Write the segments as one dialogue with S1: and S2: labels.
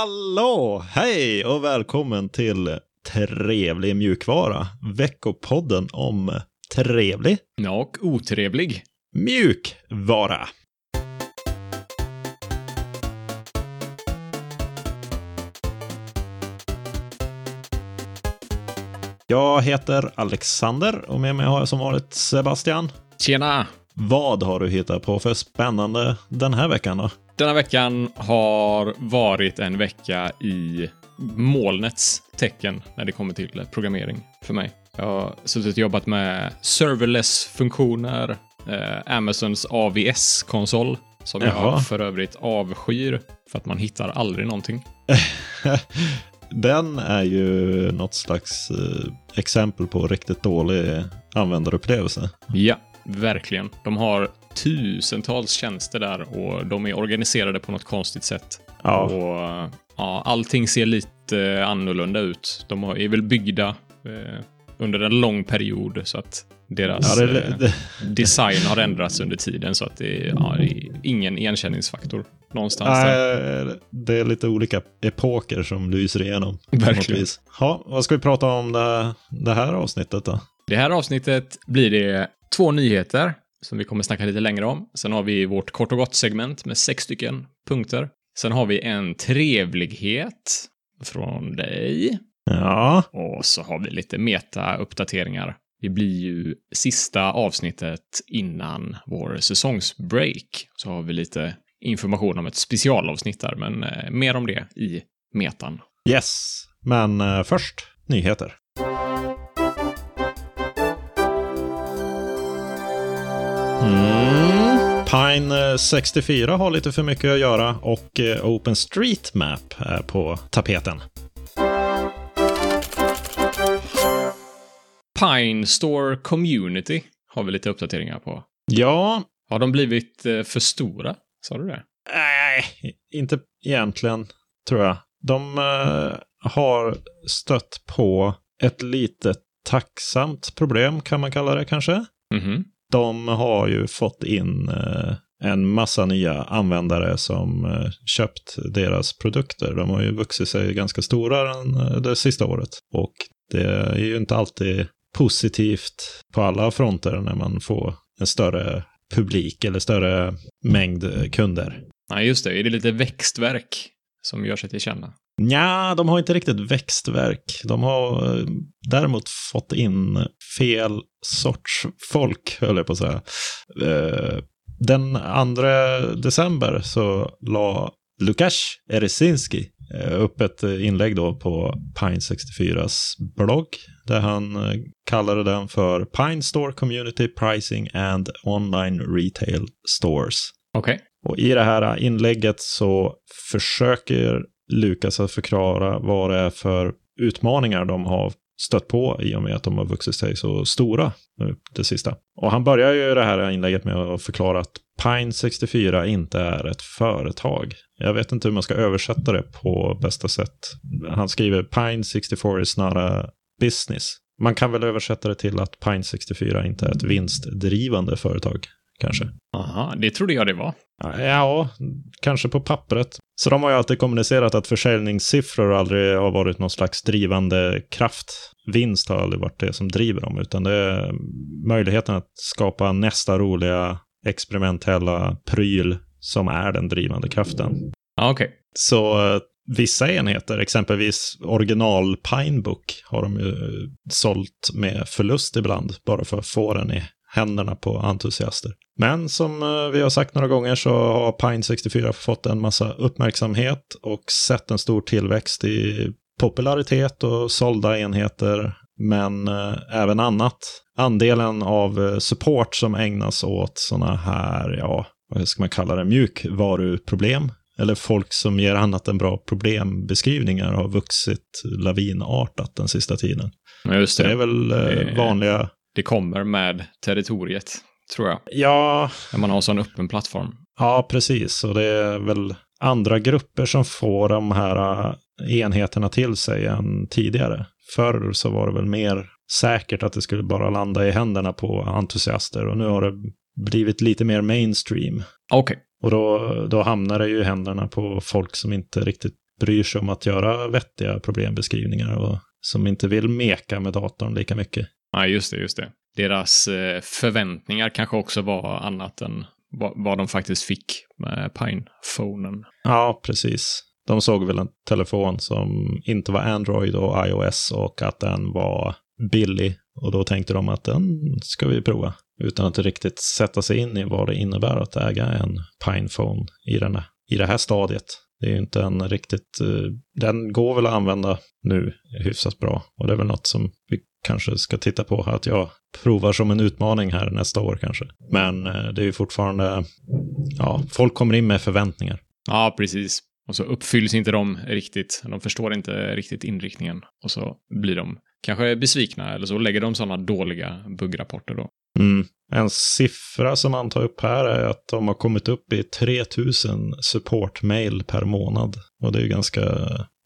S1: Hallå! Hej och välkommen till Trevlig mjukvara. Veckopodden om trevlig
S2: Ja, och otrevlig.
S1: mjukvara. Jag heter Alexander och med mig har jag som vanligt Sebastian.
S2: Tjena!
S1: Vad har du hittat på för spännande den här veckan då?
S2: Denna veckan har varit en vecka i molnets tecken när det kommer till programmering för mig. Jag har suttit och jobbat med serverless-funktioner, eh, Amazons AVS-konsol, som
S1: Jaha.
S2: jag för övrigt avskyr för att man hittar aldrig någonting.
S1: Den är ju något slags eh, exempel på riktigt dålig användarupplevelse.
S2: Ja, verkligen. De har tusentals tjänster där och de är organiserade på något konstigt sätt.
S1: Ja.
S2: Och, ja, allting ser lite eh, annorlunda ut. De har- är väl byggda eh, under en lång period så att
S1: Ja,
S2: deras
S1: det,
S2: eh,
S1: det,
S2: design har ändrats under tiden så att det är, ja, det är ingen igenkänningsfaktor någonstans. där.
S1: nej, eh, det är lite olika epoker som lyser igenom. på något
S2: Verkligen.
S1: vis. Ja, vad ska vi prata om det, det här avsnittet då?
S2: Det här avsnittet blir det två nyheter som vi kommer snacka lite längre om. Sen har vi vårt kort och gott-segment med sex stycken punkter. Sen har vi en trevlighet från dig.
S1: Ja,
S2: Och så har vi lite meta-uppdateringar. Det blir ju sista avsnittet innan vår säsongsbreak. Så har vi lite information om ett specialavsnitt där, men eh, mer om det i metan.
S1: yes. Men eh, först nyheter. Mm. Pine eh, 64 har lite för mycket att göra och eh, OpenStreetMap är på tapeten.
S2: Pine Store Community har vi lite uppdateringar på.
S1: Ja,
S2: Har de blivit eh, för stora? Sa du det?
S1: Nej, inte egentligen, tror jag. De eh, har stött på ett lite tacksamt problem, kan man kalla det kanske.
S2: Mhm.
S1: De har ju fått in eh, en massa nya användare som eh, köpt deras produkter. De har ju vuxit sig ganska stora den, eh, det sista året. Och det är ju inte alltid positivt på alla fronter när man får en större publik eller större mängd eh, kunder.
S2: Nej, just det. Är det lite växtverk som gör sig till känna?
S1: Nja, de har inte riktigt växtverk. De har eh, däremot fått in fel sorts folk, höll jag på att säga. Eh, Den 2 december så la Lukasz Eresinski eh, upp ett eh, inlägg då på Pine64s blogg där han eh, kallade den för Pine Store Community Pricing and Online Retail Stores.
S2: Okej.
S1: Och i det här inlägget så försöker Lukas att förklara vad det är för utmaningar de har stött på i och med att de har vuxit sig så stora nu det sista. Och han börjar ju det här inlägget med att förklara att Pine 64 inte är ett företag. Jag vet inte hur man ska översätta det på bästa sätt. Han skriver Pine 64 is not a business. Man kan väl översätta det till att Pine 64 inte är ett vinstdrivande företag, kanske.
S2: Aha, det trodde jag det var.
S1: Ja, kanske på pappret. Så de har ju alltid kommunicerat att försäljningssiffror aldrig har varit någon slags drivande kraft. Vinst har aldrig varit det som driver dem, utan det är möjligheten att skapa nästa roliga experimentella pryl som är den drivande kraften.
S2: Ja, Okej.
S1: Så eh, vissa enheter, exempelvis original Pinebook, har de ju eh, sålt med förlust ibland, bara för att få den i händerna på entusiaster. Men som eh, vi har sagt några gånger så har Pine64 fått en massa uppmärksamhet och sett en stor tillväxt i popularitet och sålda enheter, men eh, även annat. Andelen av eh, support som ägnas åt sådana här, ja, vad ska man kalla det, mjukvaruproblem eller folk som ger annat än bra problembeskrivningar har vuxit lavinartat den sista tiden.
S2: Men Just
S1: Så det är
S2: det.
S1: väl eh,
S2: Eh.
S1: vanliga...
S2: Det kommer med territoriet, tror jag.
S1: Ja,
S2: När man har sån öppen plattform.
S1: ja, precis. Och det är väl andra grupper som får de här eh, enheterna till sig än tidigare. Förr så var det väl mer säkert att det skulle bara landa i händerna på entusiaster och nu har det blivit lite mer mainstream.
S2: Okej.
S1: Och då, då hamnar det ju i händerna på folk som inte riktigt bryr sig om att göra vettiga problembeskrivningar och som inte vill meka med datorn lika mycket.
S2: Ja, just det, just det. Deras eh, förväntningar kanske också var annat än vad, vad de faktiskt fick med Pinephonen.
S1: Ja, precis. De såg väl en telefon som inte var Android och iOS och att den var billig. Och då tänkte de att den ska vi prova. Utan att riktigt sätta sig in i vad det innebär att äga en Pinephone i, den, här- i det här stadiet. Det är ju inte en riktigt... eh, Den går väl att använda nu hyfsat bra. Och det är väl något som vi kanske ska titta på. här, Att jag provar som en utmaning här nästa år kanske. Men eh, det är ju fortfarande... Ja, folk kommer in med förväntningar.
S2: Ja, precis. Och så uppfylls inte de riktigt. De förstår inte riktigt inriktningen. Och så blir de kanske besvikna eller så lägger de sådana dåliga buggrapporter då.
S1: Mm. En siffra som man tar upp här är att de har kommit upp i 3000 supportmail per månad. Och det är ju ganska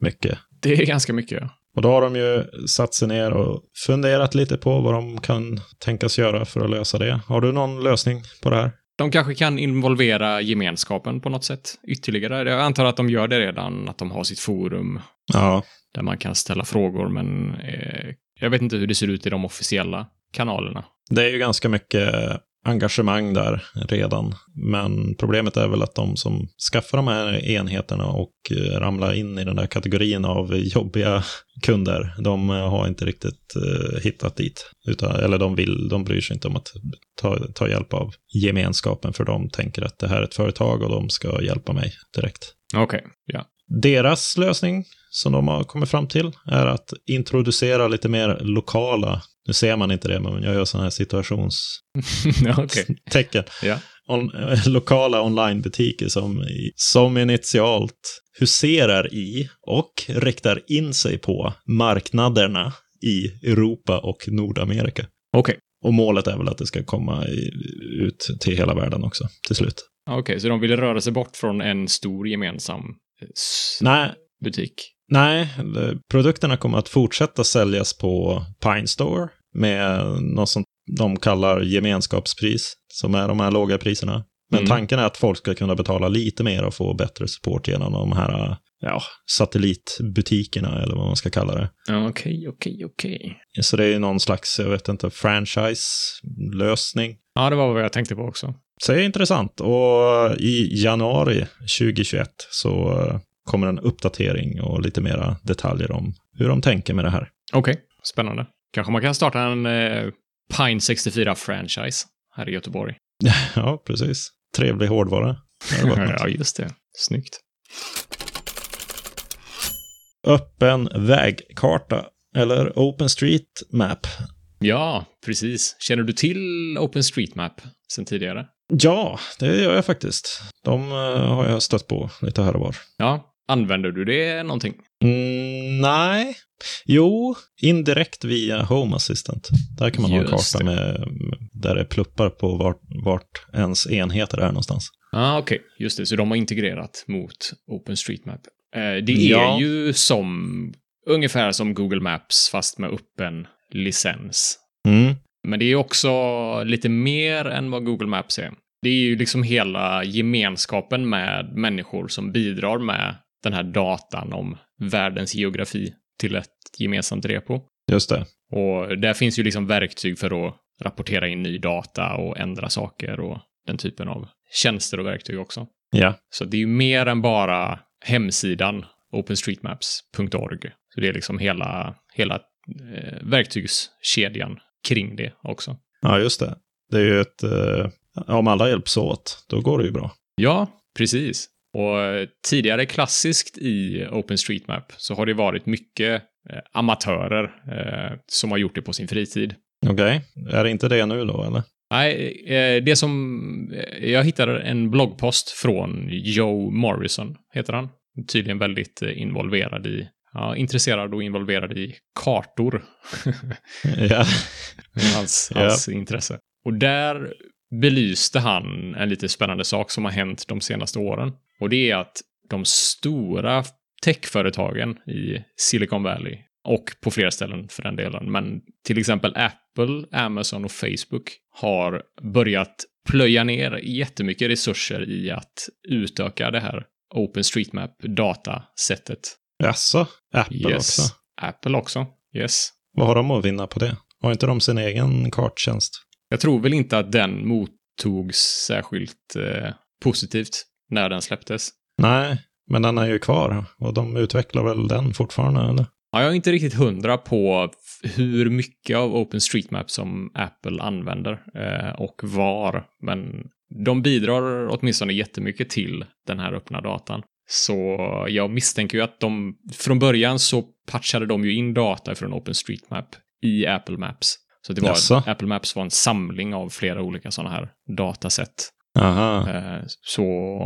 S1: mycket.
S2: Det är ganska mycket. ja.
S1: Och då har de ju satt sig ner och funderat lite på vad de kan tänkas göra för att lösa det. Har du någon lösning på det här?
S2: De kanske kan involvera gemenskapen på något sätt ytterligare. Jag antar att de gör det redan, att de har sitt forum
S1: Ja.
S2: där man kan ställa frågor, men eh, jag vet inte hur det ser ut i de officiella kanalerna.
S1: Det är ju ganska mycket engagemang där redan. Men problemet är väl att de som skaffar de här enheterna och eh, ramlar in i den där kategorin av jobbiga kunder, de eh, har inte riktigt eh, hittat dit. Utan, eller de vill, de bryr sig inte om att ta, ta hjälp av gemenskapen, för de tänker att det här är ett företag och de ska hjälpa mig direkt.
S2: Okej, ja.
S1: Deras lösning som de har kommit fram till är att introducera lite mer lokala, nu ser man inte det, men jag gör sådana här situations
S2: Okej,
S1: tecken.
S2: Ja.
S1: On, lokala onlinebutiker som, i- som initialt huserar i och riktar in sig på marknaderna i Europa och Nordamerika.
S2: okej.
S1: Och målet är väl att det ska komma i, ut till hela världen också till slut.
S2: Okej, så de ville röra sig bort från en stor gemensam eh, s-
S1: Nej,
S2: butik.
S1: Nej, det- produkterna kommer att fortsätta säljas på Pine Store med något som de kallar gemenskapspris, som är de här låga priserna. Men
S2: Mm.
S1: tanken är att folk ska kunna betala lite mer och få bättre support genom de här ja, satellitbutikerna eller vad man ska kalla det.
S2: Ja, Okej, okej, okej.
S1: Så det är ju någon slags, jag vet inte, franchise-lösning.
S2: Ja, det var vad jag tänkte på också.
S1: Så det är intressant. Och i januari 2021 så kommer en uppdatering och lite mera detaljer om hur de tänker med det här.
S2: Okej, spännande. Kanske man kan starta en eh, Pine 64-franchise här i Göteborg.
S1: Ja, precis. Trevlig hårdvara. Det hade varit något.
S2: ja, just det. Snyggt.
S1: Öppen vägkarta, eller OpenStreetMap.
S2: Ja, precis. Känner du till OpenStreetMap sen tidigare?
S1: Ja, det gör jag faktiskt. De eh, har jag stött på lite här och var.
S2: Ja. Använder du det någonting?
S1: Mm, nej. Jo, indirekt via Home Assistant. Där kan man ha en
S2: Just
S1: karta
S2: det.
S1: med, där det pluppar på vart, vart ens enheter är någonstans.
S2: ah, okej. Just det, så de har integrerat mot OpenStreetMap. Eh, det är
S1: Ja.
S2: ju som ungefär som Google Maps fast med öppen licens.
S1: Mm.
S2: Men det är också lite mer än vad Google Maps är. Det är ju liksom hela gemenskapen med människor som bidrar med den här datan om världens geografi till ett gemensamt repo.
S1: Just det.
S2: Och där finns ju liksom verktyg för att rapportera in ny data och ändra saker och den typen av tjänster och verktyg också.
S1: Ja.
S2: Så det är ju mer än bara hemsidan openstreetmaps.org. Så det är liksom hela, hela eh, verktygskedjan kring det också.
S1: ja, just det. Det är ju ett... Eh, om alla hjälps åt, då går det ju bra.
S2: Ja, precis. Och eh, tidigare klassiskt i OpenStreetMap så har det varit mycket eh, amatörer eh, som har gjort det på sin fritid.
S1: Okej. Är det inte det nu då, eller?
S2: Nej, eh, det som... eh, Jag hittade en bloggpost från Joe Morrison, heter han. Tydligen väldigt eh, involverad i... Ja, intresserad och involverad i kartor.
S1: Ja.
S2: Det är hans,
S1: Mm. Ja.
S2: hans intresse. Och där belyste han en lite spännande sak som har hänt de senaste åren. Och det är att de stora techföretagen i Silicon Valley och på flera ställen för den delen, men till exempel Apple, Amazon och Facebook har börjat plöja ner jättemycket resurser i att utöka det här OpenStreetMap-datasättet.
S1: Jaså? Apple
S2: Yes.
S1: också?
S2: Apple också. Yes.
S1: Vad har de att vinna på det? Har inte de sin egen karttjänst?
S2: Jag tror väl inte att den mottogs särskilt eh, positivt när den släpptes.
S1: Nej, men den är ju kvar och de utvecklar väl den fortfarande eller?
S2: Ja, jag är inte riktigt hundra på f- hur mycket av OpenStreetMap som Apple använder eh, och var, men de bidrar åtminstone jättemycket till den här öppna datan. Så jag misstänker ju att de från början så patchade de ju in data från OpenStreetMap i Apple Maps. Så det var,
S1: Jaså?
S2: Apple Maps var en samling av flera olika sådana här datasätt.
S1: Aha,
S2: Eh, Så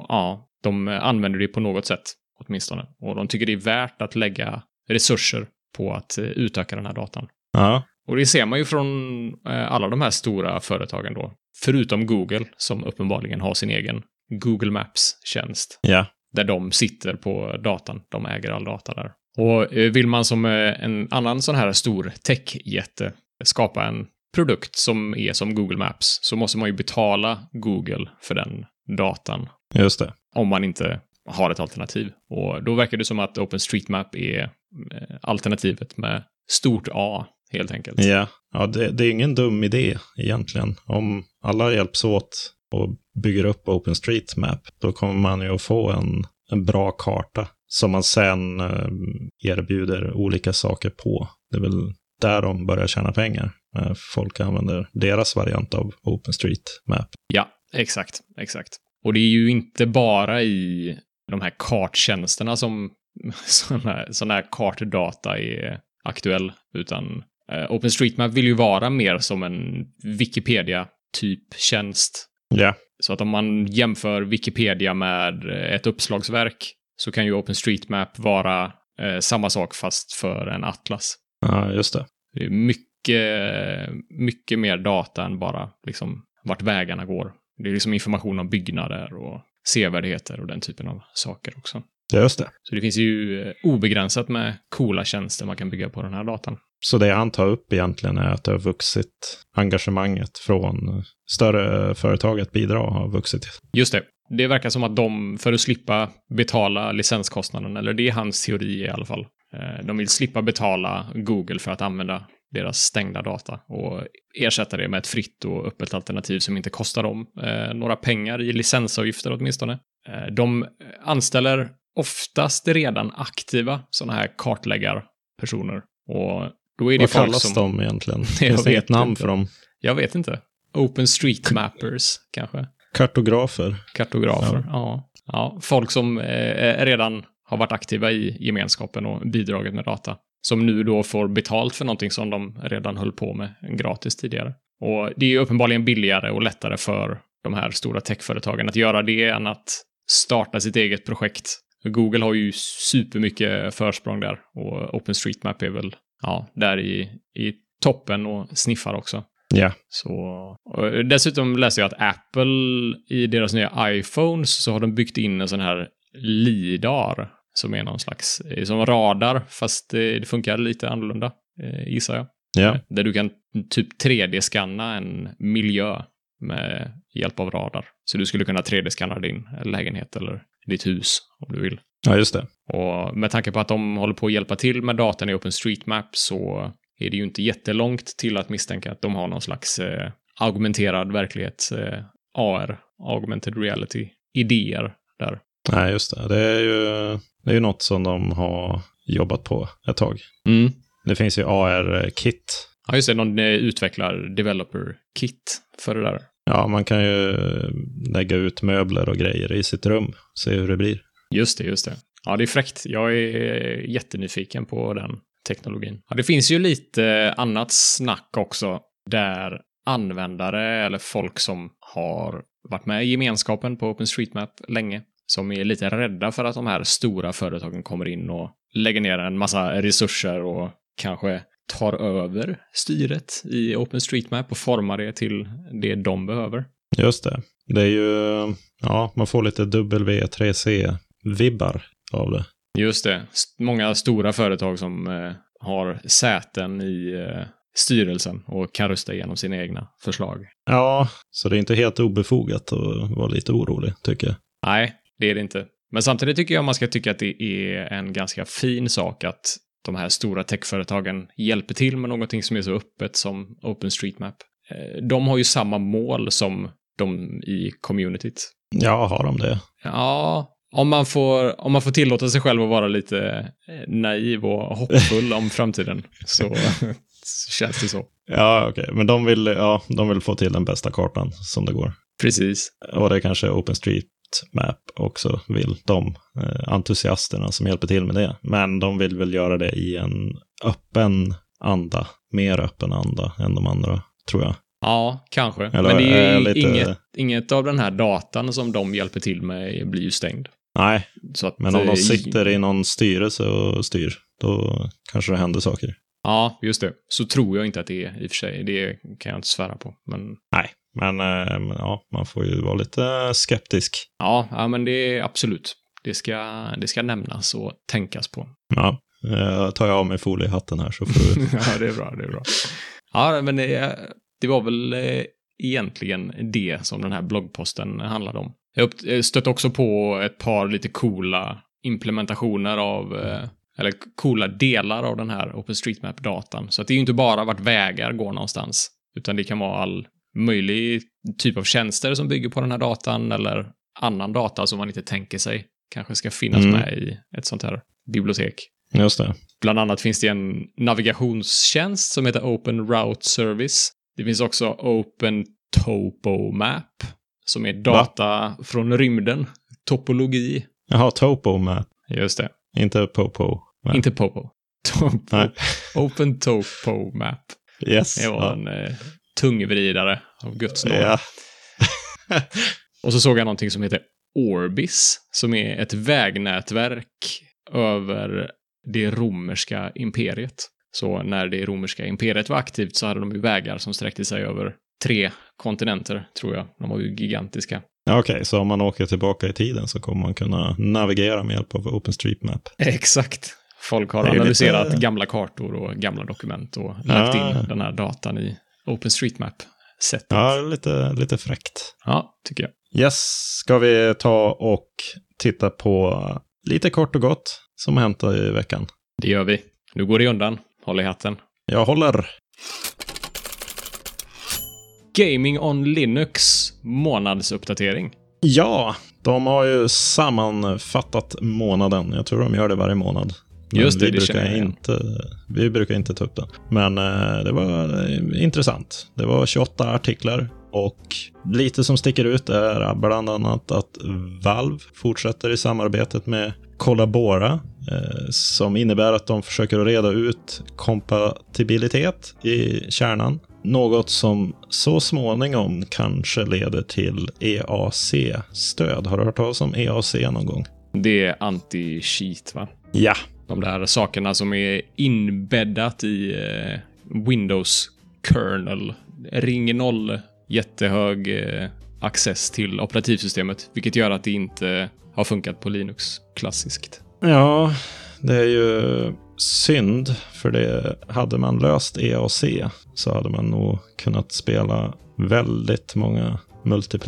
S2: ja, de använder det på något sätt åtminstone. Och de tycker det är värt att lägga resurser på att eh, utöka den här datan.
S1: ja.
S2: Och det ser man ju från eh, alla de här stora företagen då. Förutom Google som uppenbarligen har sin egen Google Maps-tjänst.
S1: Ja.
S2: Där de sitter på datan. De äger all data där. Och eh, vill man som eh, en annan sån här stor techjätte skapa en produkt som är som Google Maps så måste man ju betala Google för den datan
S1: Just det.
S2: om man inte har ett alternativ. Och då verkar det som att OpenStreetMap är eh, alternativet med stort A, helt enkelt.
S1: Ja, ja det, det är ingen dum idé egentligen. Om alla hjälps åt och bygger upp OpenStreetMap, då kommer man ju att få en, en bra karta som man sen eh, erbjuder olika saker på. Det är väl där de börjar tjäna pengar. när Folk använder deras variant av OpenStreetMap.
S2: Ja, exakt, exakt. Och det är ju inte bara i de här karttjänsterna som sån här, sån här kartdata är aktuell, utan eh, OpenStreetMap vill ju vara mer som en Wikipedia-typ tjänst.
S1: Ja,
S2: Så att om man jämför Wikipedia med eh, ett uppslagsverk så kan ju OpenStreetMap vara eh, samma sak fast för en atlas.
S1: ja just det.
S2: Det är mycket, mycket mer data än bara liksom vart vägarna går. Det är liksom information om byggnader och sevärdheter och den typen av saker också.
S1: Ja, just det.
S2: Så det finns ju eh, obegränsat med coola tjänster man kan bygga på den här datan.
S1: Så det han tar upp egentligen är att det har vuxit engagemanget från större företag att bidra har vuxit.
S2: Just det. Det verkar som att de, för att slippa betala licenskostnaden, eller det är hans teori i alla fall, eh, de vill slippa betala Google för att använda deras stängda data och ersätta det med ett fritt och öppet alternativ som inte kostar dem eh, några pengar i licensavgifter åtminstone. Eh, de anställer oftast redan aktiva sådana här kartläggarpersoner och då är det
S1: Vad
S2: folk
S1: kallas
S2: som...
S1: de egentligen?
S2: Jag
S1: Finns det inget
S2: vet
S1: namn
S2: inte.
S1: för dem?
S2: Jag vet inte. OpenStreetMappers kanske?
S1: Kartografer.
S2: Kartografer, ja. ja. folk som eh, redan har varit aktiva i gemenskapen och bidragit med data. Som nu då får betalt för någonting som de redan höll på med gratis tidigare. Och det är ju uppenbarligen billigare och lättare för de här stora techföretagen att göra det än att starta sitt eget projekt. Google har ju supermycket försprång där och OpenStreetMap är väl ja, där i, i toppen och sniffar också.
S1: Ja.
S2: Så, och dessutom läste jag att Apple i deras nya iPhones så har de byggt in en sån här LIDAR som är någon slags eh, som radar fast eh, det funkar lite annorlunda eh, gissar jag.
S1: Ja,
S2: Där du kan typ 3D-skanna en miljö med hjälp av radar. Så du skulle kunna 3D-skanna din lägenhet eller ditt hus om du vill.
S1: ja just det.
S2: Och med tanke på att de håller på att hjälpa till med datan i OpenStreetMap så är det ju inte jättelångt till att misstänka att de har någon slags eh, augmenterad verklighet, eh, AR, augmented reality, idéer där.
S1: Nej, just det. Det är, ju, det är ju något som de har jobbat på ett tag. Det finns ju AR-kit.
S2: Ja, just det, någon eh, utvecklar developer-kit för det där.
S1: Ja, man kan ju lägga ut möbler och grejer i sitt rum. Se hur det blir.
S2: Just det, just det. Ja, det är fräckt. Jag är eh, jättenyfiken på den teknologin. Ja, det finns ju lite annat snack också där användare eller folk som har varit med i gemenskapen på OpenStreetMap länge som är lite rädda för att de här stora företagen kommer in och lägger ner en massa resurser och kanske tar över styret i OpenStreetMap och formar det till det de behöver.
S1: Just det. Det är ju, ja, man får lite W3C-vibbar av det.
S2: Just det. S- Många stora företag som eh, har säten i eh, styrelsen och kan rösta igenom sina egna förslag.
S1: Ja, så det är inte helt obefogat att vara lite orolig, tycker jag.
S2: Nej, det är det inte. Men samtidigt tycker jag man ska tycka att det är en ganska fin sak att de här stora techföretagen hjälper till med någonting som är så öppet som OpenStreetMap. Eh, De har ju samma mål som de i communityt.
S1: Ja, har de det?
S2: Ja, om man får, om man får tillåta sig själv att vara lite eh, naiv och hoppfull om framtiden så känns det så.
S1: Ja, okej. Men de vill, ja, de vill få till den bästa kartan som det går.
S2: Precis.
S1: Och det kanske OpenStreetMap också vill, de eh, entusiasterna som hjälper till med det. Men de vill väl göra det i en öppen anda, mer öppen anda än de andra, tror jag.
S2: Ja, kanske.
S1: Eller
S2: Men det är ju
S1: är lite-
S2: inget, inget av den här datan som de hjälper till med blir ju stängd.
S1: Nej,
S2: Så att,
S1: men om
S2: eh,
S1: de sitter i någon styrelse och styr, då kanske det händer saker.
S2: Ja, just det. Så tror jag inte att det är i och för sig. Det kan jag inte svära på. Men
S1: Nej, men, eh, men ja, man får ju vara lite skeptisk.
S2: ja, ja men det är absolut. Det ska, det ska nämnas och tänkas på.
S1: Ja, eh, tar jag av mig foliehatten här så får du...
S2: ja, det är bra. Det är bra. Ja, men det, det var väl eh, egentligen det som den här bloggposten handlade om. Jag upp- eh, stötte också på ett par lite coola implementationer av, eh, eller coola delar av den här OpenStreetMap-datan. Så att det är ju inte bara vart vägar går någonstans, utan det kan vara all möjlig typ av tjänster som bygger på den här datan eller annan data som man inte tänker sig kanske ska finnas
S1: Mm.
S2: med i ett sånt här bibliotek.
S1: Just det.
S2: Bland annat finns det en navigationstjänst som heter Open Route Service. Det finns också Open Topo Map som är data från rymden. Topologi.
S1: Jaha, Topo med,
S2: Just det.
S1: inte Popo. Map.
S2: Inte Popo. Topo.
S1: Nej.
S2: Open Topo Map.
S1: Yes.
S2: Det var
S1: ja.
S2: en eh, tungvridare av Guds nåde.
S1: Ja.
S2: Och så såg jag någonting som heter Orbis, som är ett vägnätverk över det romerska imperiet. Så när det romerska imperiet var aktivt så hade de ju vägar som sträckte sig över tre kontinenter, tror jag. De var ju gigantiska.
S1: Ja, Okej, så om man åker tillbaka i tiden så kommer man kunna navigera med hjälp av OpenStreetMap.
S2: Exakt. Folk har
S1: Det är lite-
S2: analyserat gamla kartor och gamla dokument och lagt
S1: Ah.
S2: in den här datan i OpenStreetMap-sättet.
S1: Ja, lite, lite fräckt.
S2: ja, tycker jag.
S1: Yes, ska vi ta och titta på lite kort och gott som har hänt i veckan.
S2: Det gör vi. Nu går det undan. Håll i hatten.
S1: Jag håller.
S2: Gaming on Linux månadsuppdatering.
S1: Ja, de har ju sammanfattat månaden. Jag tror de gör det varje månad. Men
S2: Just det,
S1: vi
S2: det känner
S1: brukar
S2: jag igen.
S1: inte, Vi brukar inte ta upp den. Men eh, det var eh, intressant. Det var 28 artiklar och lite som sticker ut är bland annat att Valve fortsätter i samarbetet med Collabora eh, som innebär att de försöker att reda ut kompatibilitet i kärnan. Något som så småningom kanske leder till EAC-stöd. Har du hört talas om EAC någon gång?
S2: Det är anti-cheat, va?
S1: Ja,
S2: De där sakerna som är inbäddat i eh, Windows kernel. Ring 0, jättehög eh, access till operativsystemet, vilket gör att det inte har funkat på Linux klassiskt.
S1: Ja, det är ju synd, för det hade man löst EAC så hade man nog kunnat spela väldigt många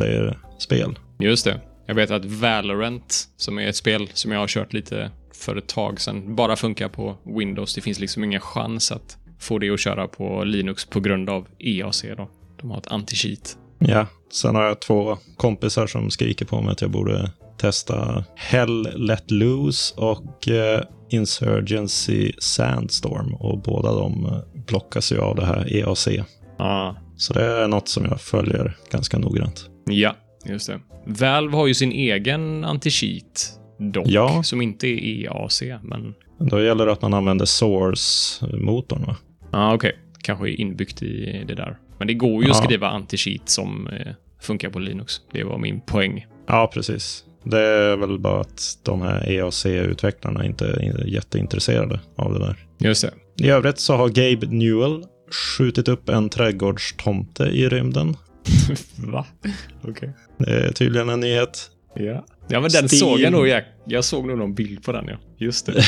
S1: multiplayer-spel.
S2: Just det. Jag vet att Valorant, som är ett spel som jag har kört lite för ett tag sedan, bara funkar på Windows. Det finns liksom ingen chans att få det att köra på Linux på grund av EAC då. De har ett anti-cheat.
S1: Ja, sen har jag två kompisar som skriker på mig att jag borde testa Hell Let Loose och eh, Insurgency Sandstorm och båda de eh, blockas ju av det här EAC.
S2: Ah,
S1: Så det är något som jag följer ganska noggrant.
S2: Ja, just det. Valve har ju sin egen anti-cheat dock,
S1: Ja.
S2: som inte är EAC, men...
S1: Då gäller det att man använder Source-motorn va?
S2: Ja, ah, okej. Kanske är inbyggt i det där. Men det går ju att
S1: Ja.
S2: skriva anti-cheat som eh, funkar på Linux. Det var min poäng.
S1: Ja, precis. Det är väl bara att de här EAC-utvecklarna inte är jätteintresserade av det där.
S2: Just det.
S1: I övrigt så har Gabe Newell skjutit upp en trädgårdstomte i rymden.
S2: Va? Okej.
S1: Det är tydligen en nyhet.
S2: Ja. Ja, men den
S1: Steam.
S2: såg jag nog. Jag, jag såg nog någon bild på den, ja. Just det.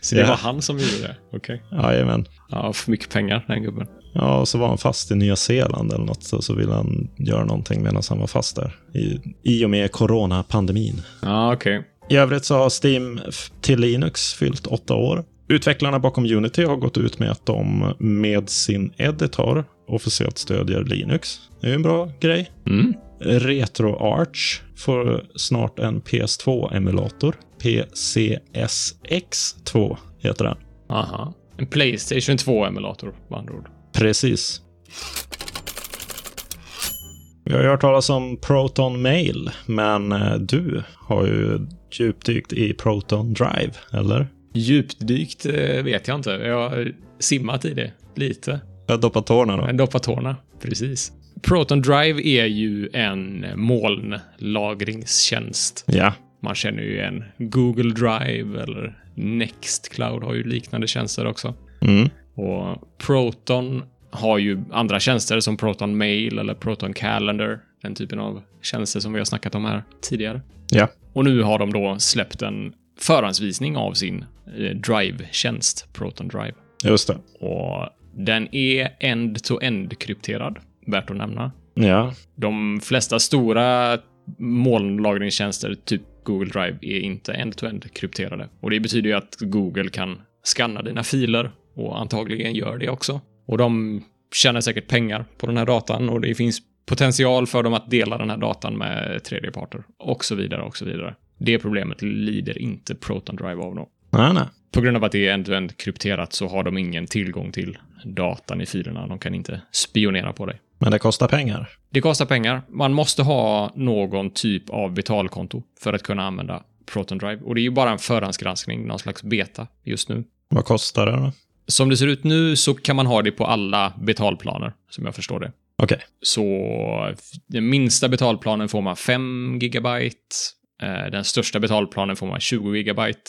S2: Så det
S1: Ja.
S2: var han som gjorde det? Okej.
S1: Jajamän.
S2: Ja, för mycket pengar, den gubben.
S1: Ja, och så var han fast i Nya Zeeland eller något och så ville han göra någonting medan han var fast där. I, i och med coronapandemin.
S2: Ja, okej.
S1: I övrigt så har Steam f- till Linux fyllt åtta år. Utvecklarna bakom Unity har gått ut med att de med sin editor officiellt stödjer Linux. Det är ju en bra grej.
S2: Mm.
S1: RetroArch får snart en PS2-emulator. PCSX2 heter den.
S2: Aha. En Playstation 2-emulator med andra ord.
S1: Precis. Vi har ju hört talas om Proton Mail, men eh, du har ju djupdykt i Proton Drive, eller?
S2: Djupdykt eh, vet jag inte. Jag har simmat i det lite.
S1: Jag doppar tårna då.
S2: En doppa tårna, precis. Proton Drive är ju en molnlagringstjänst.
S1: Ja,
S2: Man känner ju en Google Drive eller Nextcloud har ju liknande tjänster också.
S1: mm.
S2: Och Proton har ju andra tjänster som Proton Mail eller Proton Calendar. Den typen av tjänster som vi har snackat om här tidigare.
S1: ja.
S2: Och nu har de då släppt en förhandsvisning av sin eh, Drive-tjänst, Proton Drive.
S1: just det.
S2: Och den är end-to-end krypterad, värt att nämna.
S1: Ja,
S2: De flesta stora molnlagringstjänster, typ Google Drive, är inte end-to-end krypterade. Och det betyder ju att Google kan skanna dina filer och antagligen gör det också. Och de tjänar säkert pengar på den här datan och det finns potential för dem att dela den här datan med tredjeparter och så vidare och så vidare. Det problemet lider inte Proton Drive av då.
S1: nej, nej.
S2: På grund av att det är end-to-end krypterat så har de ingen tillgång till datan i filerna. De kan inte spionera på dig.
S1: Men det kostar pengar.
S2: Det kostar pengar. Man måste ha någon typ av betalkonto för att kunna använda Proton Drive. Och det är ju bara en förhandsgranskning, någon slags beta just nu.
S1: Vad kostar det då?
S2: Som det ser ut nu så kan man ha det på alla betalplaner, som jag förstår det.
S1: Okej,
S2: Så den minsta betalplanen får man 5 gigabyte. Eh, Den största betalplanen får man 20 gigabyte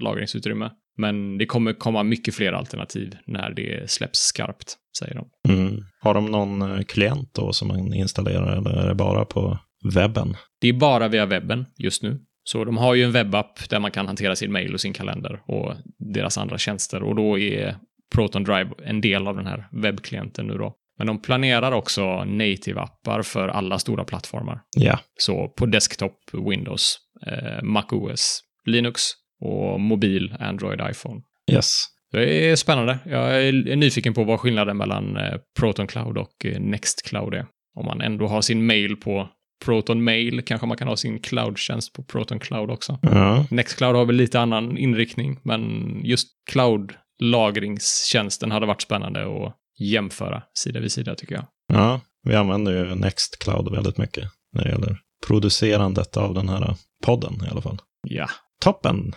S2: lagringsutrymme. Men det kommer komma mycket fler alternativ när det släpps skarpt, säger de.
S1: mm. har de någon eh, klient då som man installerar eller är det bara på webben?
S2: Det är bara via webben just nu. Så de har ju en webbapp där man kan hantera sin mail och sin kalender och deras andra tjänster. Och då är Proton Drive en del av den här webbklienten nu då. Men de planerar också native-appar för alla stora plattformar.
S1: Ja,
S2: Så på desktop, Windows, eh, Mac OS, Linux och mobil, Android, iPhone.
S1: yes.
S2: Det är spännande. Jag är nyfiken på vad skillnaden mellan eh, Proton Cloud och eh, Next Cloud är. Om man ändå har sin mail på Proton Mail kanske man kan ha sin cloud-tjänst på Proton Cloud också.
S1: Ja,
S2: Next Cloud har väl lite annan inriktning, men just cloud-lagringstjänsten hade varit spännande att jämföra sida vid sida tycker jag.
S1: ja. vi använder ju Nextcloud väldigt mycket när det gäller producerandet av den här podden i alla fall.
S2: Ja.
S1: Toppen!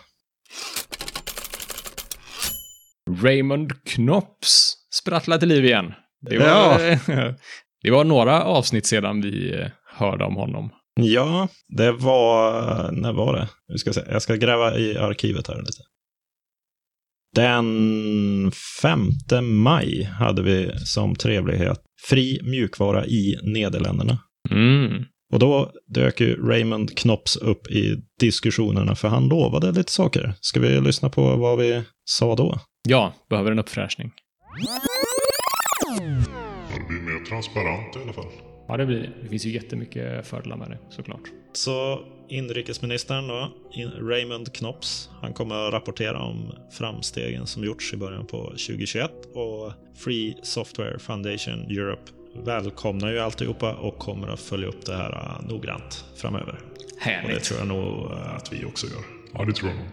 S2: Raymond Knops sprattlar till liv igen. Det var, eh,
S1: Ja.
S2: det var några avsnitt sedan vi eh, hörde om honom.
S1: Ja, det var... När var det? Nu ska jag, se. jag ska gräva i arkivet här lite. Den 5 maj hade vi som trevlighet fri mjukvara i Nederländerna.
S2: Mm.
S1: Och då dök ju Raymond Knops upp i diskussionerna för han lovade lite saker. Ska vi lyssna på vad vi sa då?
S2: Ja, behöver en uppfräschning.
S3: Det blir mer transparent i alla fall.
S2: Ja, det blir det. Det finns ju jättemycket fördelar med det, såklart.
S1: Så inrikesministern då, in- Raymond Knops, han kommer att rapportera om framstegen som gjorts i början på 2021 och Free Software Foundation Europe välkomnar ju alltihopa och kommer att följa upp det här eh, noggrant framöver. Och det
S2: Härligt.
S1: tror jag nog eh, att vi också gör.
S3: Ja, det tror jag nog.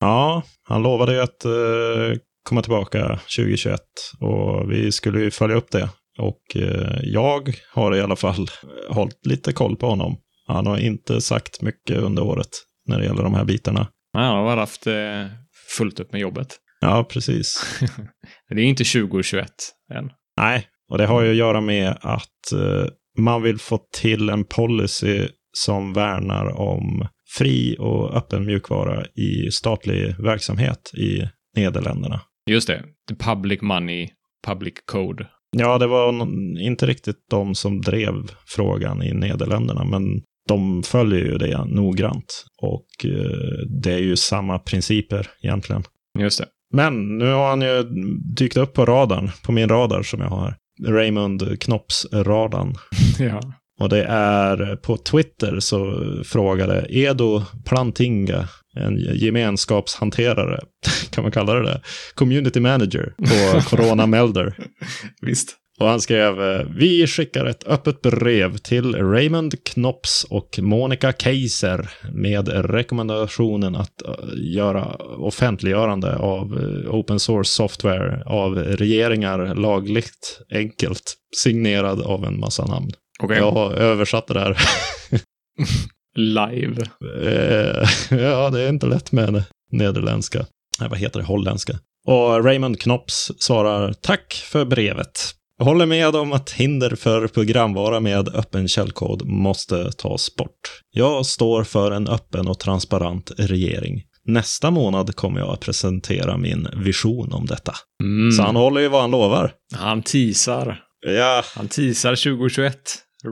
S1: Ja, han lovade ju att eh, komma tillbaka 2021 och vi skulle ju följa upp det. Och eh, jag har i alla fall eh, hållit lite koll på honom. Han har inte sagt mycket under året när det gäller de här bitarna.
S2: Ja, han har haft eh, fullt upp med jobbet.
S1: Ja, precis.
S2: Det är inte 2021 än.
S1: Nej, och det har ju att göra med att eh, man vill få till en policy som värnar om fri och öppen mjukvara i statlig verksamhet i Nederländerna.
S2: Just det. The public money, public code.
S1: Ja, det var någon- inte riktigt de som drev frågan i Nederländerna, men de följer ju det noggrant. Och eh, det är ju samma principer egentligen.
S2: Just det.
S1: Men nu har han ju dykt upp på radarn, på min radar som jag har. Raymond Knops-radarn.
S2: ja.
S1: Och det är eh, på Twitter så frågade Edo Plantinga, en gemenskapshanterare, kan man kalla det det, community manager på Corona Melder.
S2: Visst.
S1: Och han skrev eh, Vi skickar ett öppet brev till Raymond Knops och Monica Kaiser med rekommendationen att eh, göra offentliggörande av eh, open source software av regeringar lagligt enkelt signerad av en massa namn.
S2: Okej.
S1: Jag har översatt det där.
S2: Live.
S1: Eh, ja, det är inte lätt med henne. Nederländska. Nej, vad heter det? Holländska. Och Raymond Knops svarar tack för brevet. Jag håller med om att hinder för programvara med öppen källkod måste tas bort. Jag står för en öppen och transparent regering. Nästa månad kommer jag att presentera min vision om detta.
S2: Mm.
S1: Så han håller ju vad han lovar.
S2: Han teasar.
S1: Ja,
S2: Han teasar 2021.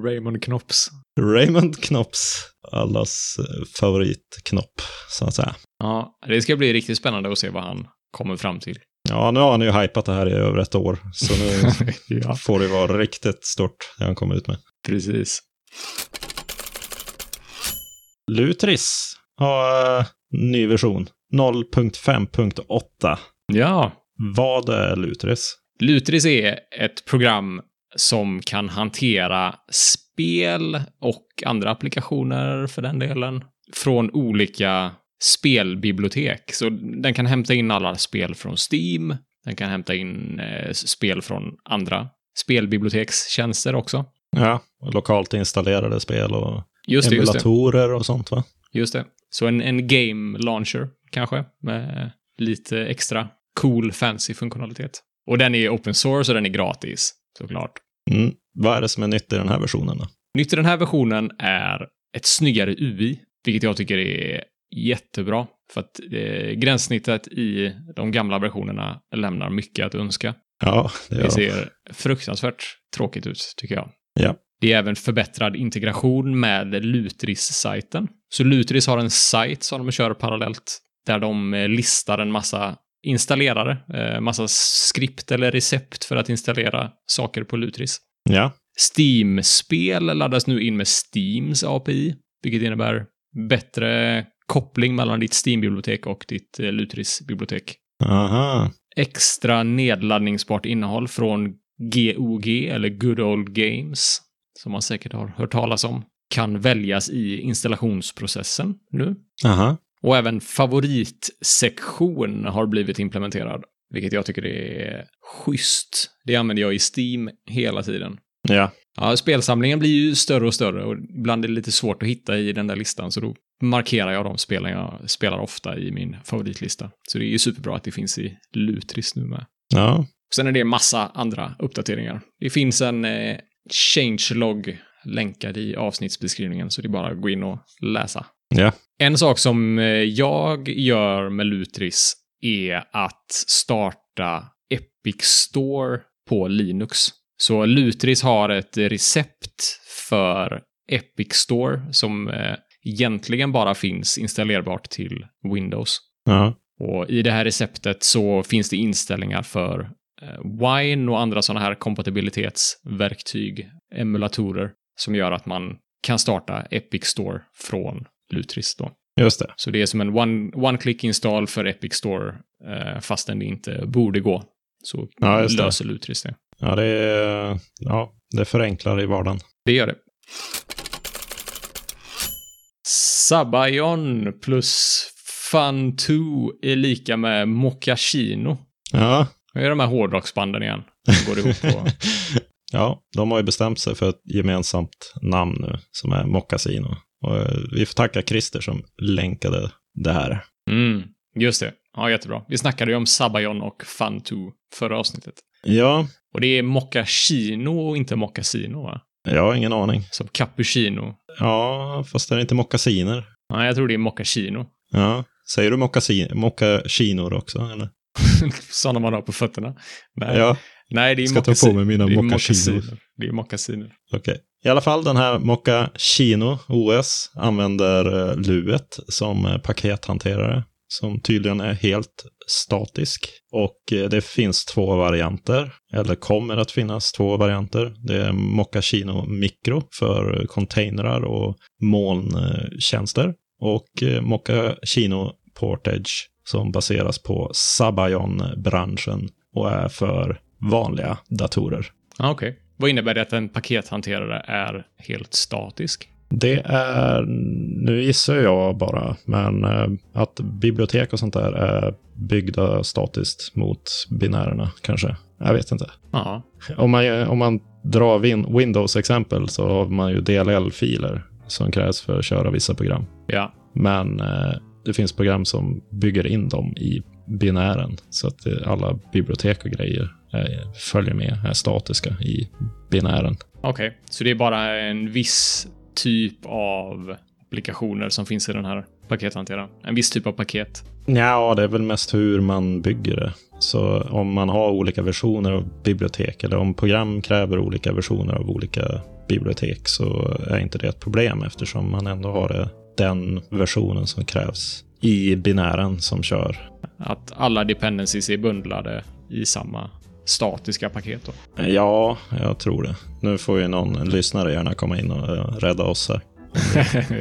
S2: Raymond Knops.
S1: Raymond Knops. Allas eh, favoritknopp, så att säga.
S2: Ja, det ska bli riktigt spännande att se vad han kommer fram till.
S1: Ja, nu har han ju hypat det här i över ett år, så nu
S2: ja,
S1: får det vara riktigt stort det han kommer ut med.
S2: precis.
S1: Lutris har eh, ny version, 0.5.8.
S2: Ja,
S1: Vad är Lutris?
S2: Lutris är ett program som kan hantera spel och andra applikationer för den delen från olika spelbibliotek. Så den kan hämta in alla spel från Steam. Den kan hämta in eh, spel från andra spelbibliotekstjänster också.
S1: Ja, lokalt installerade spel och
S2: Just det, just det.
S1: emulatorer och sånt va?
S2: Just det. Så en, en game launcher kanske med eh, lite extra cool fancy funktionalitet. Och den är open source och den är gratis såklart.
S1: Mm. Vad är det som är nytt i den här versionen då?
S2: Nytt i den här versionen är ett snyggare UI, vilket jag tycker är jättebra. För att eh, gränssnittet i de gamla versionerna lämnar mycket att önska.
S1: Ja, det
S2: Det
S1: gör de.
S2: ser fruktansvärt tråkigt ut, tycker jag.
S1: Ja.
S2: Det är även förbättrad integration med Lutris-sajten. Så Lutris har en sajt som de kör parallellt där de eh, listar en massa installerare, eh, massa skript eller recept för att installera saker på Lutris.
S1: ja.
S2: Steam-spel laddas nu in med Steams API, vilket innebär bättre koppling mellan ditt Steam-bibliotek och ditt eh, Lutris-bibliotek.
S1: Aha.
S2: Extra nedladdningsbart innehåll från GOG, eller Good Old Games, som man säkert har hört talas om, kan väljas i installationsprocessen nu.
S1: Aha.
S2: Och även favoritsektion har blivit implementerad, vilket jag tycker är schysst. Det använder jag i Steam hela tiden.
S1: Ja.
S2: Ja, spelsamlingen blir ju större och större och ibland är det lite svårt att hitta i den där listan så då markerar jag de spelen jag spelar ofta i min favoritlista. Så det är ju superbra att det finns i Lutris nu med.
S1: Ja.
S2: Sen är det massa andra uppdateringar. Det finns en eh, changelog länkad i avsnittsbeskrivningen så det är bara att gå in och läsa.
S1: Ja.
S2: En sak som eh, jag gör med Lutris är att starta Epic Store på Linux. Så Lutris har ett recept för Epic Store som eh, egentligen bara finns installerbart till Windows.
S1: Ja.
S2: Och i det här receptet så finns det inställningar för eh, Wine och andra sådana här kompatibilitetsverktyg, emulatorer, som gör att man kan starta Epic Store från Lutris då.
S1: Just det.
S2: Så det är som en one- one-click install för Epic Store, eh, fastän det inte borde gå. Så
S1: Ja, just det.
S2: löser Lutris det.
S1: Ja, det, är- ja, det förenklar i vardagen.
S2: Det gör det. Sabayon plus Fun2 är lika med Mochaccino.
S1: Ja.
S2: Nu är de här hårdrocksbanden igen. som Går ihop på.
S1: Ja, de har ju bestämt sig för ett gemensamt namn nu som är Moccasino. Och eh, vi får tacka Christer som länkade det här.
S2: Mm, just det. Ja, jättebra. Vi snackade ju om Sabayon och Fun2 förra avsnittet.
S1: Ja,
S2: Och det är Mochaccino och inte Moccasino, va?
S1: jag har ingen aning.
S2: Som cappuccino.
S1: Ja, fast det är inte mockasiner.
S2: Nej, jag tror det är Mochaccino.
S1: Ja, säger du mockasin- mockasinor också? Eller?
S2: Sådana man har på fötterna. Nej,
S1: Ja,
S2: Nej det är
S1: ska ta
S2: moccasi-
S1: på mig mina
S2: det är
S1: mockasinor.
S2: moccasinor. Det är moccasinor.
S1: Okej. I alla fall den här Moccasino OS använder eh, Luet som eh, pakethanterare. som tydligen är helt statisk. Och eh, det finns två varianter, eller kommer att finnas två varianter. Det är Moccasino Micro för containrar och molntjänster och eh, Moccasino Portage som baseras på Sabayon-branschen och är för vanliga datorer.
S2: Ah, Okej. Vad innebär det att en pakethanterare är helt statisk?
S1: Det är, nu gissar jag bara, men eh, att bibliotek och sånt där är byggda statiskt mot binärerna kanske. Jag vet inte.
S2: Ja.
S1: Om man, om man drar Win- Windows-exempel så har man ju DLL-filer som krävs för att köra vissa program.
S2: Ja.
S1: Men eh, det finns program som bygger in dem i binären så att eh, alla bibliotek och grejer eh, följer med, är statiska i binären.
S2: Okej, så det är bara en viss typ av applikationer som finns i den här pakethanteraren. En viss typ av paket.
S1: Ja, det är väl mest hur man bygger det. Så om man har olika versioner av bibliotek eller om program kräver olika versioner av olika bibliotek så är inte det ett problem eftersom man ändå har det, den versionen som krävs i binären som kör.
S2: Att alla dependencies är bundlade i samma statiska paket. Då.
S1: Ja, jag tror det. Nu får ju någon lyssnare gärna komma in och eh, rädda oss här.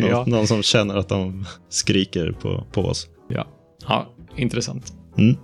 S1: Någon,
S2: ja.
S1: någon som känner att de skriker på, på oss.
S2: ja. Ja, intressant.
S1: Mm.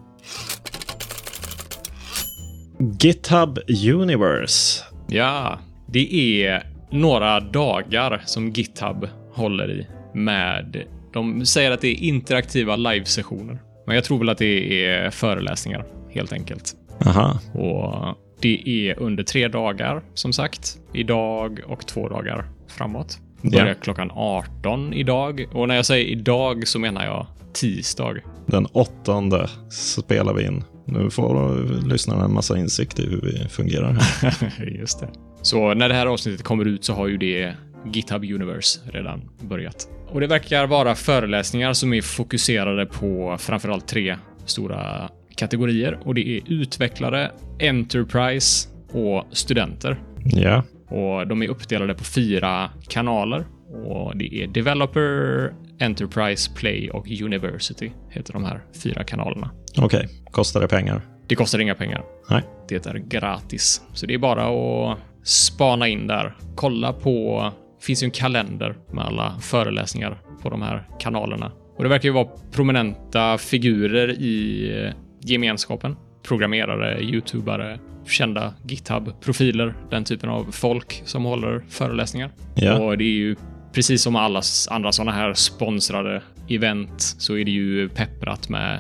S1: GitHub Universe
S2: Ja, det är några dagar som GitHub håller i med. De säger att det är interaktiva livesessioner, men jag tror väl att det är föreläsningar helt enkelt.
S1: Aha.
S2: Och det är under tre dagar som sagt. Idag och två dagar framåt. Börjar
S1: Ja.
S2: klockan 18 idag. Och när jag säger idag så menar jag tisdag.
S1: Den åttonde spelar vi in. Nu får lyssnarna en massa insikt i hur vi fungerar här.
S2: Just det. Så när det här avsnittet kommer ut så har ju det GitHub Universe redan börjat. Och det verkar vara föreläsningar som är fokuserade på framförallt tre stora kategorier och det är utvecklare, Enterprise och studenter.
S1: ja.
S2: Och de är uppdelade på fyra kanaler. Och det är Developer, Enterprise, Play och University heter de här fyra kanalerna.
S1: Okej, kostar det pengar?
S2: Det kostar inga pengar.
S1: Nej.
S2: Det är gratis. Så det är bara att spana in där. Kolla på... Det finns ju en kalender med alla föreläsningar på de här kanalerna. Och det verkar ju vara prominenta figurer i gemenskapen. Programmerare, youtubare, kända GitHub-profiler, den typen av folk som håller föreläsningar.
S1: Ja.
S2: Och det är ju precis som alla s- andra sådana här sponsrade event så är det ju pepprat med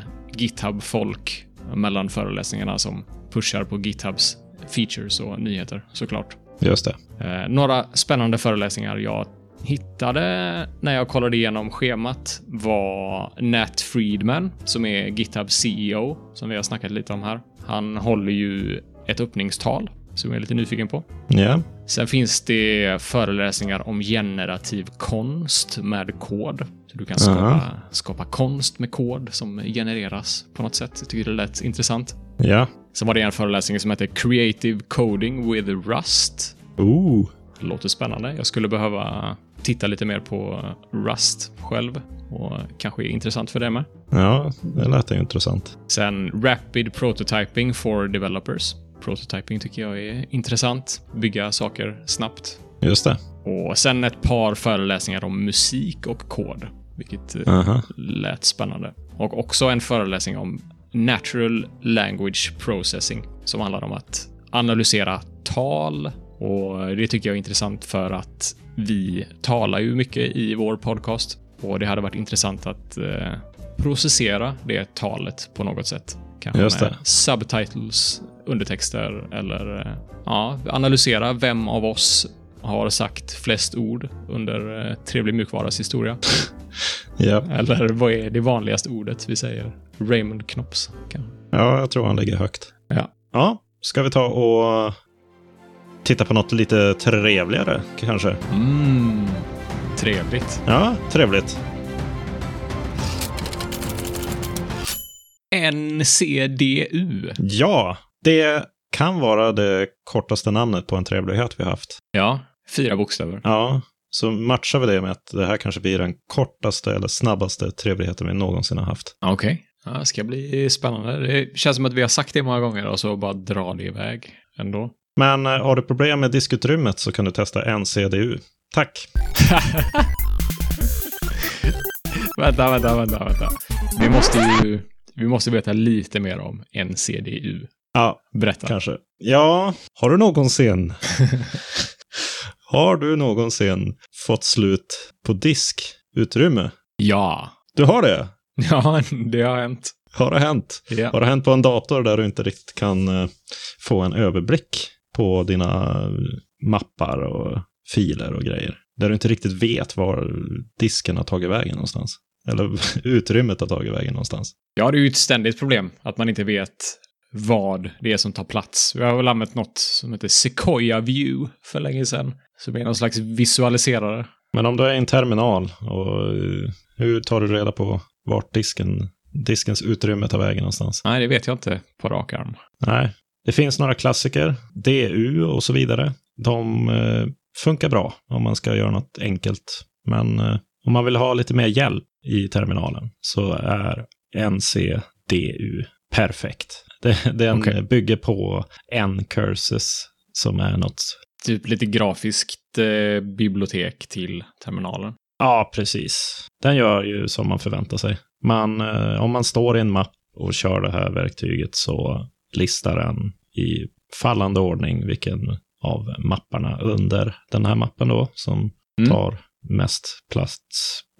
S2: GitHub-folk mellan föreläsningarna som pushar på GitHubs features och nyheter såklart.
S1: Just det.
S2: Eh, några spännande föreläsningar jag hittade när jag kollade igenom schemat var Nat Friedman som är GitHub CEO som vi har snackat lite om här. Han håller ju ett öppningstal som jag är lite nyfiken på.
S1: Ja.
S2: Sen finns det föreläsningar om generativ konst med kod. Så du kan skapa,
S1: Aha.
S2: skapa konst med kod som genereras på något sätt. Jag tycker det lät intressant.
S1: Ja.
S2: Sen var det en föreläsning som hette Creative Coding with Rust.
S1: Ooh.
S2: Det låter spännande. Jag skulle behöva titta lite mer på Rust själv och kanske är intressant för det med.
S1: Ja, det lät ju intressant.
S2: Sen Rapid Prototyping for Developers. Prototyping tycker jag är intressant. Bygga saker snabbt.
S1: Just det.
S2: Och sen ett par föreläsningar om musik och kod, vilket eh,
S1: Aha.
S2: lät spännande. Och också en föreläsning om Natural Language Processing som handlar om att analysera tal. Och det tycker jag är intressant för att vi talar ju mycket i vår podcast och det hade varit intressant att eh, processera det talet på något sätt. Kanske
S1: Just
S2: med
S1: det.
S2: subtitles, undertexter eller eh, ja, analysera vem av oss har sagt flest ord under eh, Trevlig mjukvaras historia.
S1: Ja.
S2: Eller vad är det vanligaste ordet vi säger? Raymond Knops, kanske.
S1: ja, jag tror han ligger högt.
S2: Ja.
S1: Ja, ska vi ta och titta på något lite trevligare kanske?
S2: Mm. Trevligt.
S1: Ja, trevligt.
S2: NCDU.
S1: Ja, det kan vara det kortaste namnet på en trevlighet vi haft.
S2: Ja, fyra bokstäver.
S1: Ja, Så matchar vi det med att det här kanske blir den kortaste eller snabbaste trevligheten vi någonsin har haft.
S2: Okej. Ja, det ska bli spännande. Det känns som att vi har sagt det många gånger och så bara drar det iväg ändå.
S1: Men eh, har du problem med diskututrymmet så kan du testa NCDU. Tack!
S2: vänta, vänta, vänta, vänta. Vi måste ju... Vi måste veta lite mer om NCDU.
S1: Ja,
S2: Berätta.
S1: kanske. Ja, har du någonsin... har du någonsin fått slut på diskutrymme?
S2: Ja.
S1: Du har det?
S2: Ja, det har hänt.
S1: Har det hänt?
S2: Ja.
S1: Har det hänt på en dator där du inte riktigt kan eh, få en överblick på dina eh, mappar och filer och grejer? Där du inte riktigt vet var disken har tagit vägen någonstans? Eller utrymmet har tagit vägen någonstans?
S2: Ja, det är ju ett ständigt problem att man inte vet vad det är som tar plats. Vi har väl använt något som heter Sequoia View för länge sedan. Som är någon slags visualiserare.
S1: Men om du är i en terminal, och eh, hur tar du reda på vart disken, diskens utrymme tar vägen någonstans?
S2: Nej, det vet jag inte på rak arm.
S1: Nej, det finns några klassiker, DU och så vidare. De eh, funkar bra om man ska göra något enkelt. Men eh, om man vill ha lite mer hjälp i terminalen så är NCDU perfekt. Det, den
S2: Okej.
S1: bygger på N-curses som är något
S2: Typ lite grafiskt eh, bibliotek till terminalen.
S1: Ja, precis. Den gör ju som man förväntar sig. Man, eh, om man står i en mapp och kör det här verktyget så listar den i fallande ordning vilken av mapparna under den här mappen då som
S2: Mm.
S1: tar mest plats,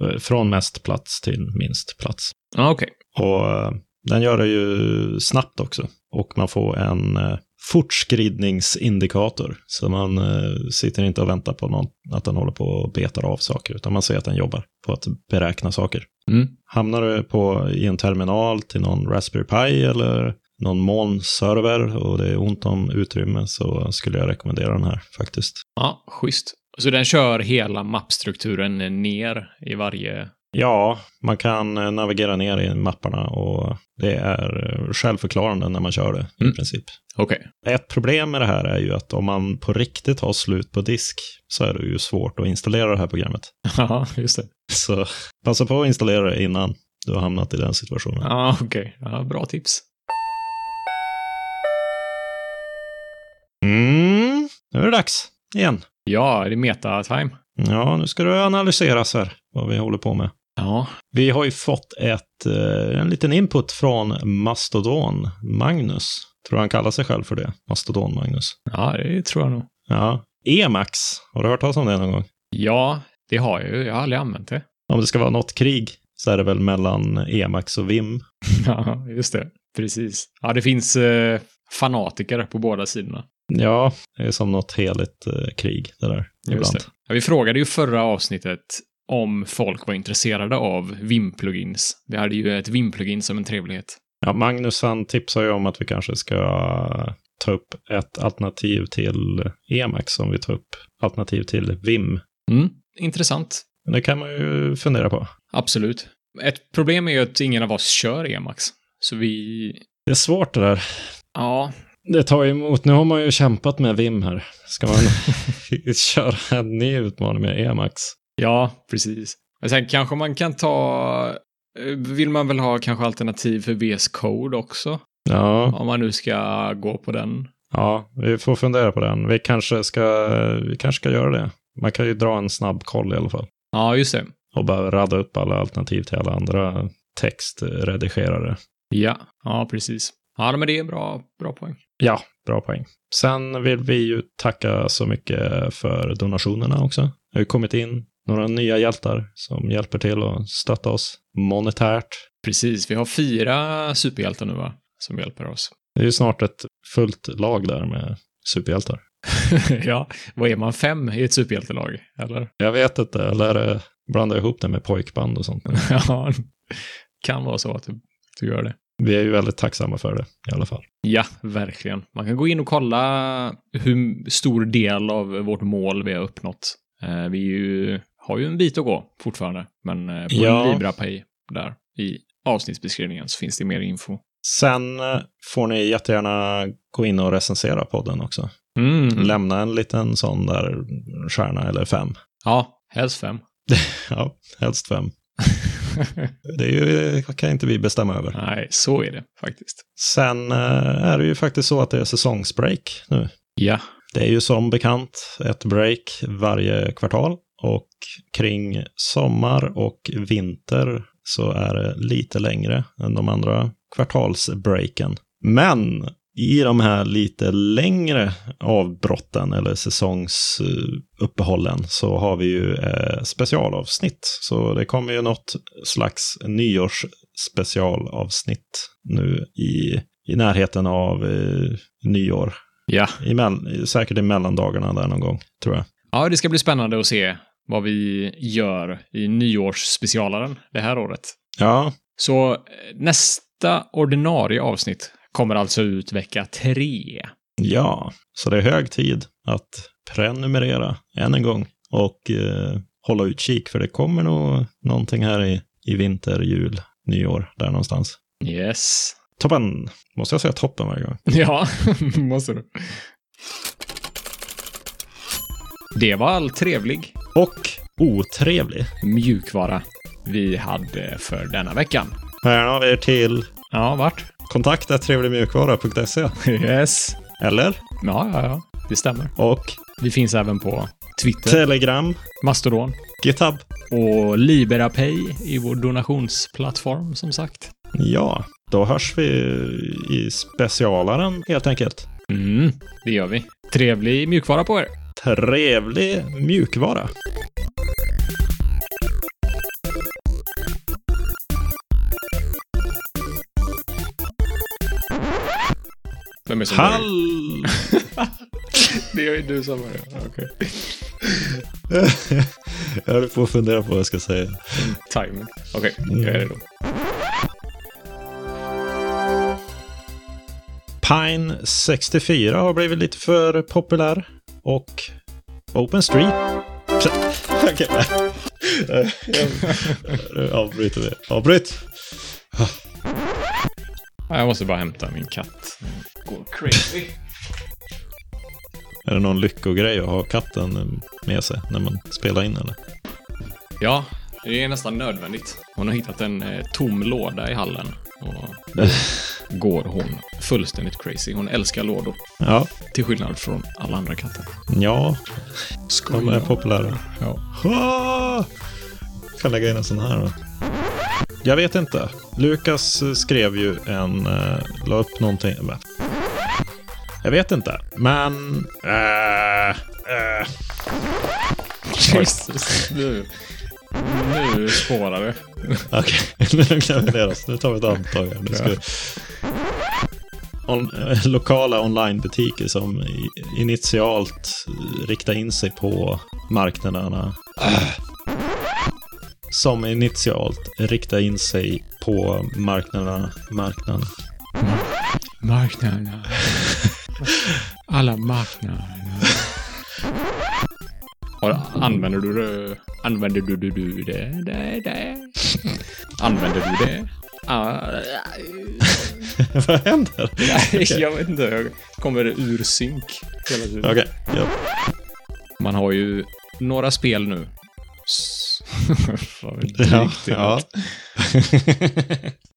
S1: eh, från mest plats till minst plats.
S2: Ah, Okej.
S1: Och eh, den gör det ju snabbt också. Och man får en eh, fortskridningsindikator. Så man eh, sitter inte och väntar på någon, att den håller på och betar av saker, utan man ser att den jobbar på att beräkna saker.
S2: Mm.
S1: Hamnar du på, i en terminal till någon Raspberry Pi eller någon molnserver och det är ont om utrymme så skulle jag rekommendera den här faktiskt.
S2: Ja, schysst. Så den kör hela mappstrukturen ner i varje...
S1: Ja, man kan eh, navigera ner i mapparna och det är eh, självförklarande när man kör det
S2: Mm.
S1: i princip.
S2: Okej.
S1: Ett problem med det här är ju att om man på riktigt har slut på disk så är det ju svårt att installera det här programmet.
S2: Ja, just det.
S1: Så passa på att installera det innan du har hamnat i den situationen.
S2: Ja, okej. Ja, bra tips.
S1: Mm, nu är det dags igen.
S2: Ja, det är meta-time.
S1: Ja, nu ska det analyseras här vad vi håller på med.
S2: Ja.
S1: Vi har ju fått ett, eh, en liten input från Mastodon Magnus. Tror han kallar sig själv för det, Mastodon Magnus.
S2: Ja, det tror jag nog.
S1: Ja. Emax, har du hört talas om det någon gång?
S2: Ja, det har jag ju. Jag har aldrig använt det.
S1: Om det ska vara något krig så är det väl mellan Emax och Vim.
S2: Ja, just det. Precis. Ja, det finns eh, fanatiker på båda sidorna.
S1: Ja, det är som något heligt eh, krig det där.
S2: Just
S1: Ibland.
S2: det. Ja, vi frågade ju förra avsnittet om folk var intresserade av Vim-plugins. Vi hade ju ett Vim-plugin som en trevlighet.
S1: Ja, Magnus han tipsar ju om att vi kanske ska ta upp ett alternativ till Emacs om vi tar upp alternativ till Vim.
S2: Mm. Intressant.
S1: Det kan man ju fundera på.
S2: Absolut. Ett problem är ju att ingen av oss kör Emax. Så vi...
S1: Det är svårt det där.
S2: Ja,
S1: Det tar emot. Nu har man ju kämpat med Vim här. Ska man köra en ny utmaning med Emacs?
S2: Ja, precis. Men sen kanske man kan ta... eh, Vill man väl ha kanske alternativ för VS Code också?
S1: Ja,
S2: Om man nu ska gå på den.
S1: ja, vi får fundera på den. Vi kanske, ska, vi kanske ska göra det. Man kan ju dra en snabb koll i alla fall.
S2: Ja, just det.
S1: och bara radda upp alla alternativ till alla andra textredigerare.
S2: Ja, ja precis. Ja, men det är en bra, bra poäng.
S1: Ja, bra poäng. Sen vill vi ju tacka så mycket för donationerna också. Det har ju kommit in några nya hjältar som hjälper till att stötta oss monetärt.
S2: Precis, vi har fyra superhjältar nu va? Som hjälper oss.
S1: Det är ju snart ett fullt lag där med superhjältar.
S2: ja, vad är man? Fem i ett superhjältelag? Eller?
S1: Jag vet inte, eller är det- blandar jag ihop det med pojkband och sånt. nu?
S2: ja, kan vara så att du, du gör det.
S1: Vi är ju väldigt tacksamma för det i alla fall.
S2: Ja, verkligen. Man kan gå in och kolla hur stor del av vårt mål vi har uppnått. Eh, Vi är ju, har ju en bit att gå fortfarande, men eh, på
S1: Ja.
S2: LibraPay där i avsnittsbeskrivningen så finns det mer info.
S1: Sen eh, får ni jättegärna gå in och recensera podden också.
S2: Mm.
S1: Lämna en liten sån där stjärna eller fem.
S2: Ja, Helst fem.
S1: Ja, helst fem. Det är ju, kan inte vi bestämma över.
S2: Nej, så är det faktiskt.
S1: Sen eh, är det ju faktiskt så att det är säsongsbreak nu.
S2: Ja.
S1: Det är ju som bekant ett break varje kvartal och kring sommar och vinter så är det lite längre än de andra kvartalsbreaken. Men i de här lite längre avbrotten eller säsongsuppehållen så har vi ju eh, specialavsnitt. Så det kommer ju något slags nyårsspecialavsnitt nu i, i närheten av eh, nyår.
S2: Ja.
S1: Emell- säkert i mellandagarna där någon gång, tror jag.
S2: Ja, det ska bli spännande att se vad vi gör i nyårsspecialaren det här året.
S1: Ja,
S2: Så eh, nästa ordinarie avsnitt kommer alltså ut vecka tre.
S1: ja. Så det är hög tid att prenumerera än en gång och eh, hålla utkik för det kommer nog någonting här i, i vinter, jul, nyår, där någonstans.
S2: Yes.
S1: Toppen! Måste jag säga toppen varje gång?
S2: Ja, måste du. Det var all trevlig
S1: Och otrevlig.
S2: mjukvara vi hade för denna veckan.
S1: Här har vi er till
S2: Ja, vart?
S1: kontaktatrevligmjukvara.se.
S2: Yes.
S1: Eller?
S2: Ja, ja, ja. Det stämmer.
S1: Och
S2: Vi finns även på Twitter,
S1: Telegram,
S2: Mastodon
S1: GitHub.
S2: och LiberaPay i vår donationsplattform, som sagt.
S1: Ja, då hörs vi i specialaren helt enkelt.
S2: Mm, det gör vi. Trevlig mjukvara på er.
S1: Trevlig mjukvara.
S2: Vem är som
S1: Hall...
S2: Det är ju du som är det. Okej.
S1: jag höll på att fundera på vad jag ska säga.
S2: Timing. Okej, jag är redo.
S1: Pine 64 har blivit lite för populär. Och Open Street... Okej, nej. Nu avbryter vi. Avbryt!
S2: Jag måste bara hämta min katt. Går crazy.
S1: Är det någon lyckogrej att ha katten med sig när man spelar in eller?
S2: Ja, det är nästan nödvändigt. Hon har hittat en eh, tom låda i hallen. Och då går hon fullständigt crazy. Hon älskar lådor.
S1: Ja,
S2: Till skillnad från alla andra katter.
S1: ja,
S2: Skojar.
S1: de är populära.
S2: Ja.
S1: Ah! Kan lägga in en sån här då. Jag vet inte. Lukas eh, skrev ju en... Uh, la upp någonting. Va? Jag vet inte, men... eh, eh.
S2: Jesus, nu. Nu spårar det.
S1: Okej, nu lugnar vi ner oss. Nu tar vi ett andetag här. Nu ska vi... On, eh, lokala onlinebutiker som i- initialt eh, riktar in sig på marknaderna. Ah. Som initialt riktar in sig på marknaderna. Marknaden.
S2: Marknaderna. Alla marknaderna. Använder du det? Använder du, du, du det? det, det? Använder du det? Ah,
S1: Vad händer?
S2: nej, jag vet inte. Jag kommer ur synk hela tiden.
S1: Okej, ja.
S2: Man har ju några spel nu. S- Fan, det är
S1: Ja,
S2: riktigt.
S1: ja.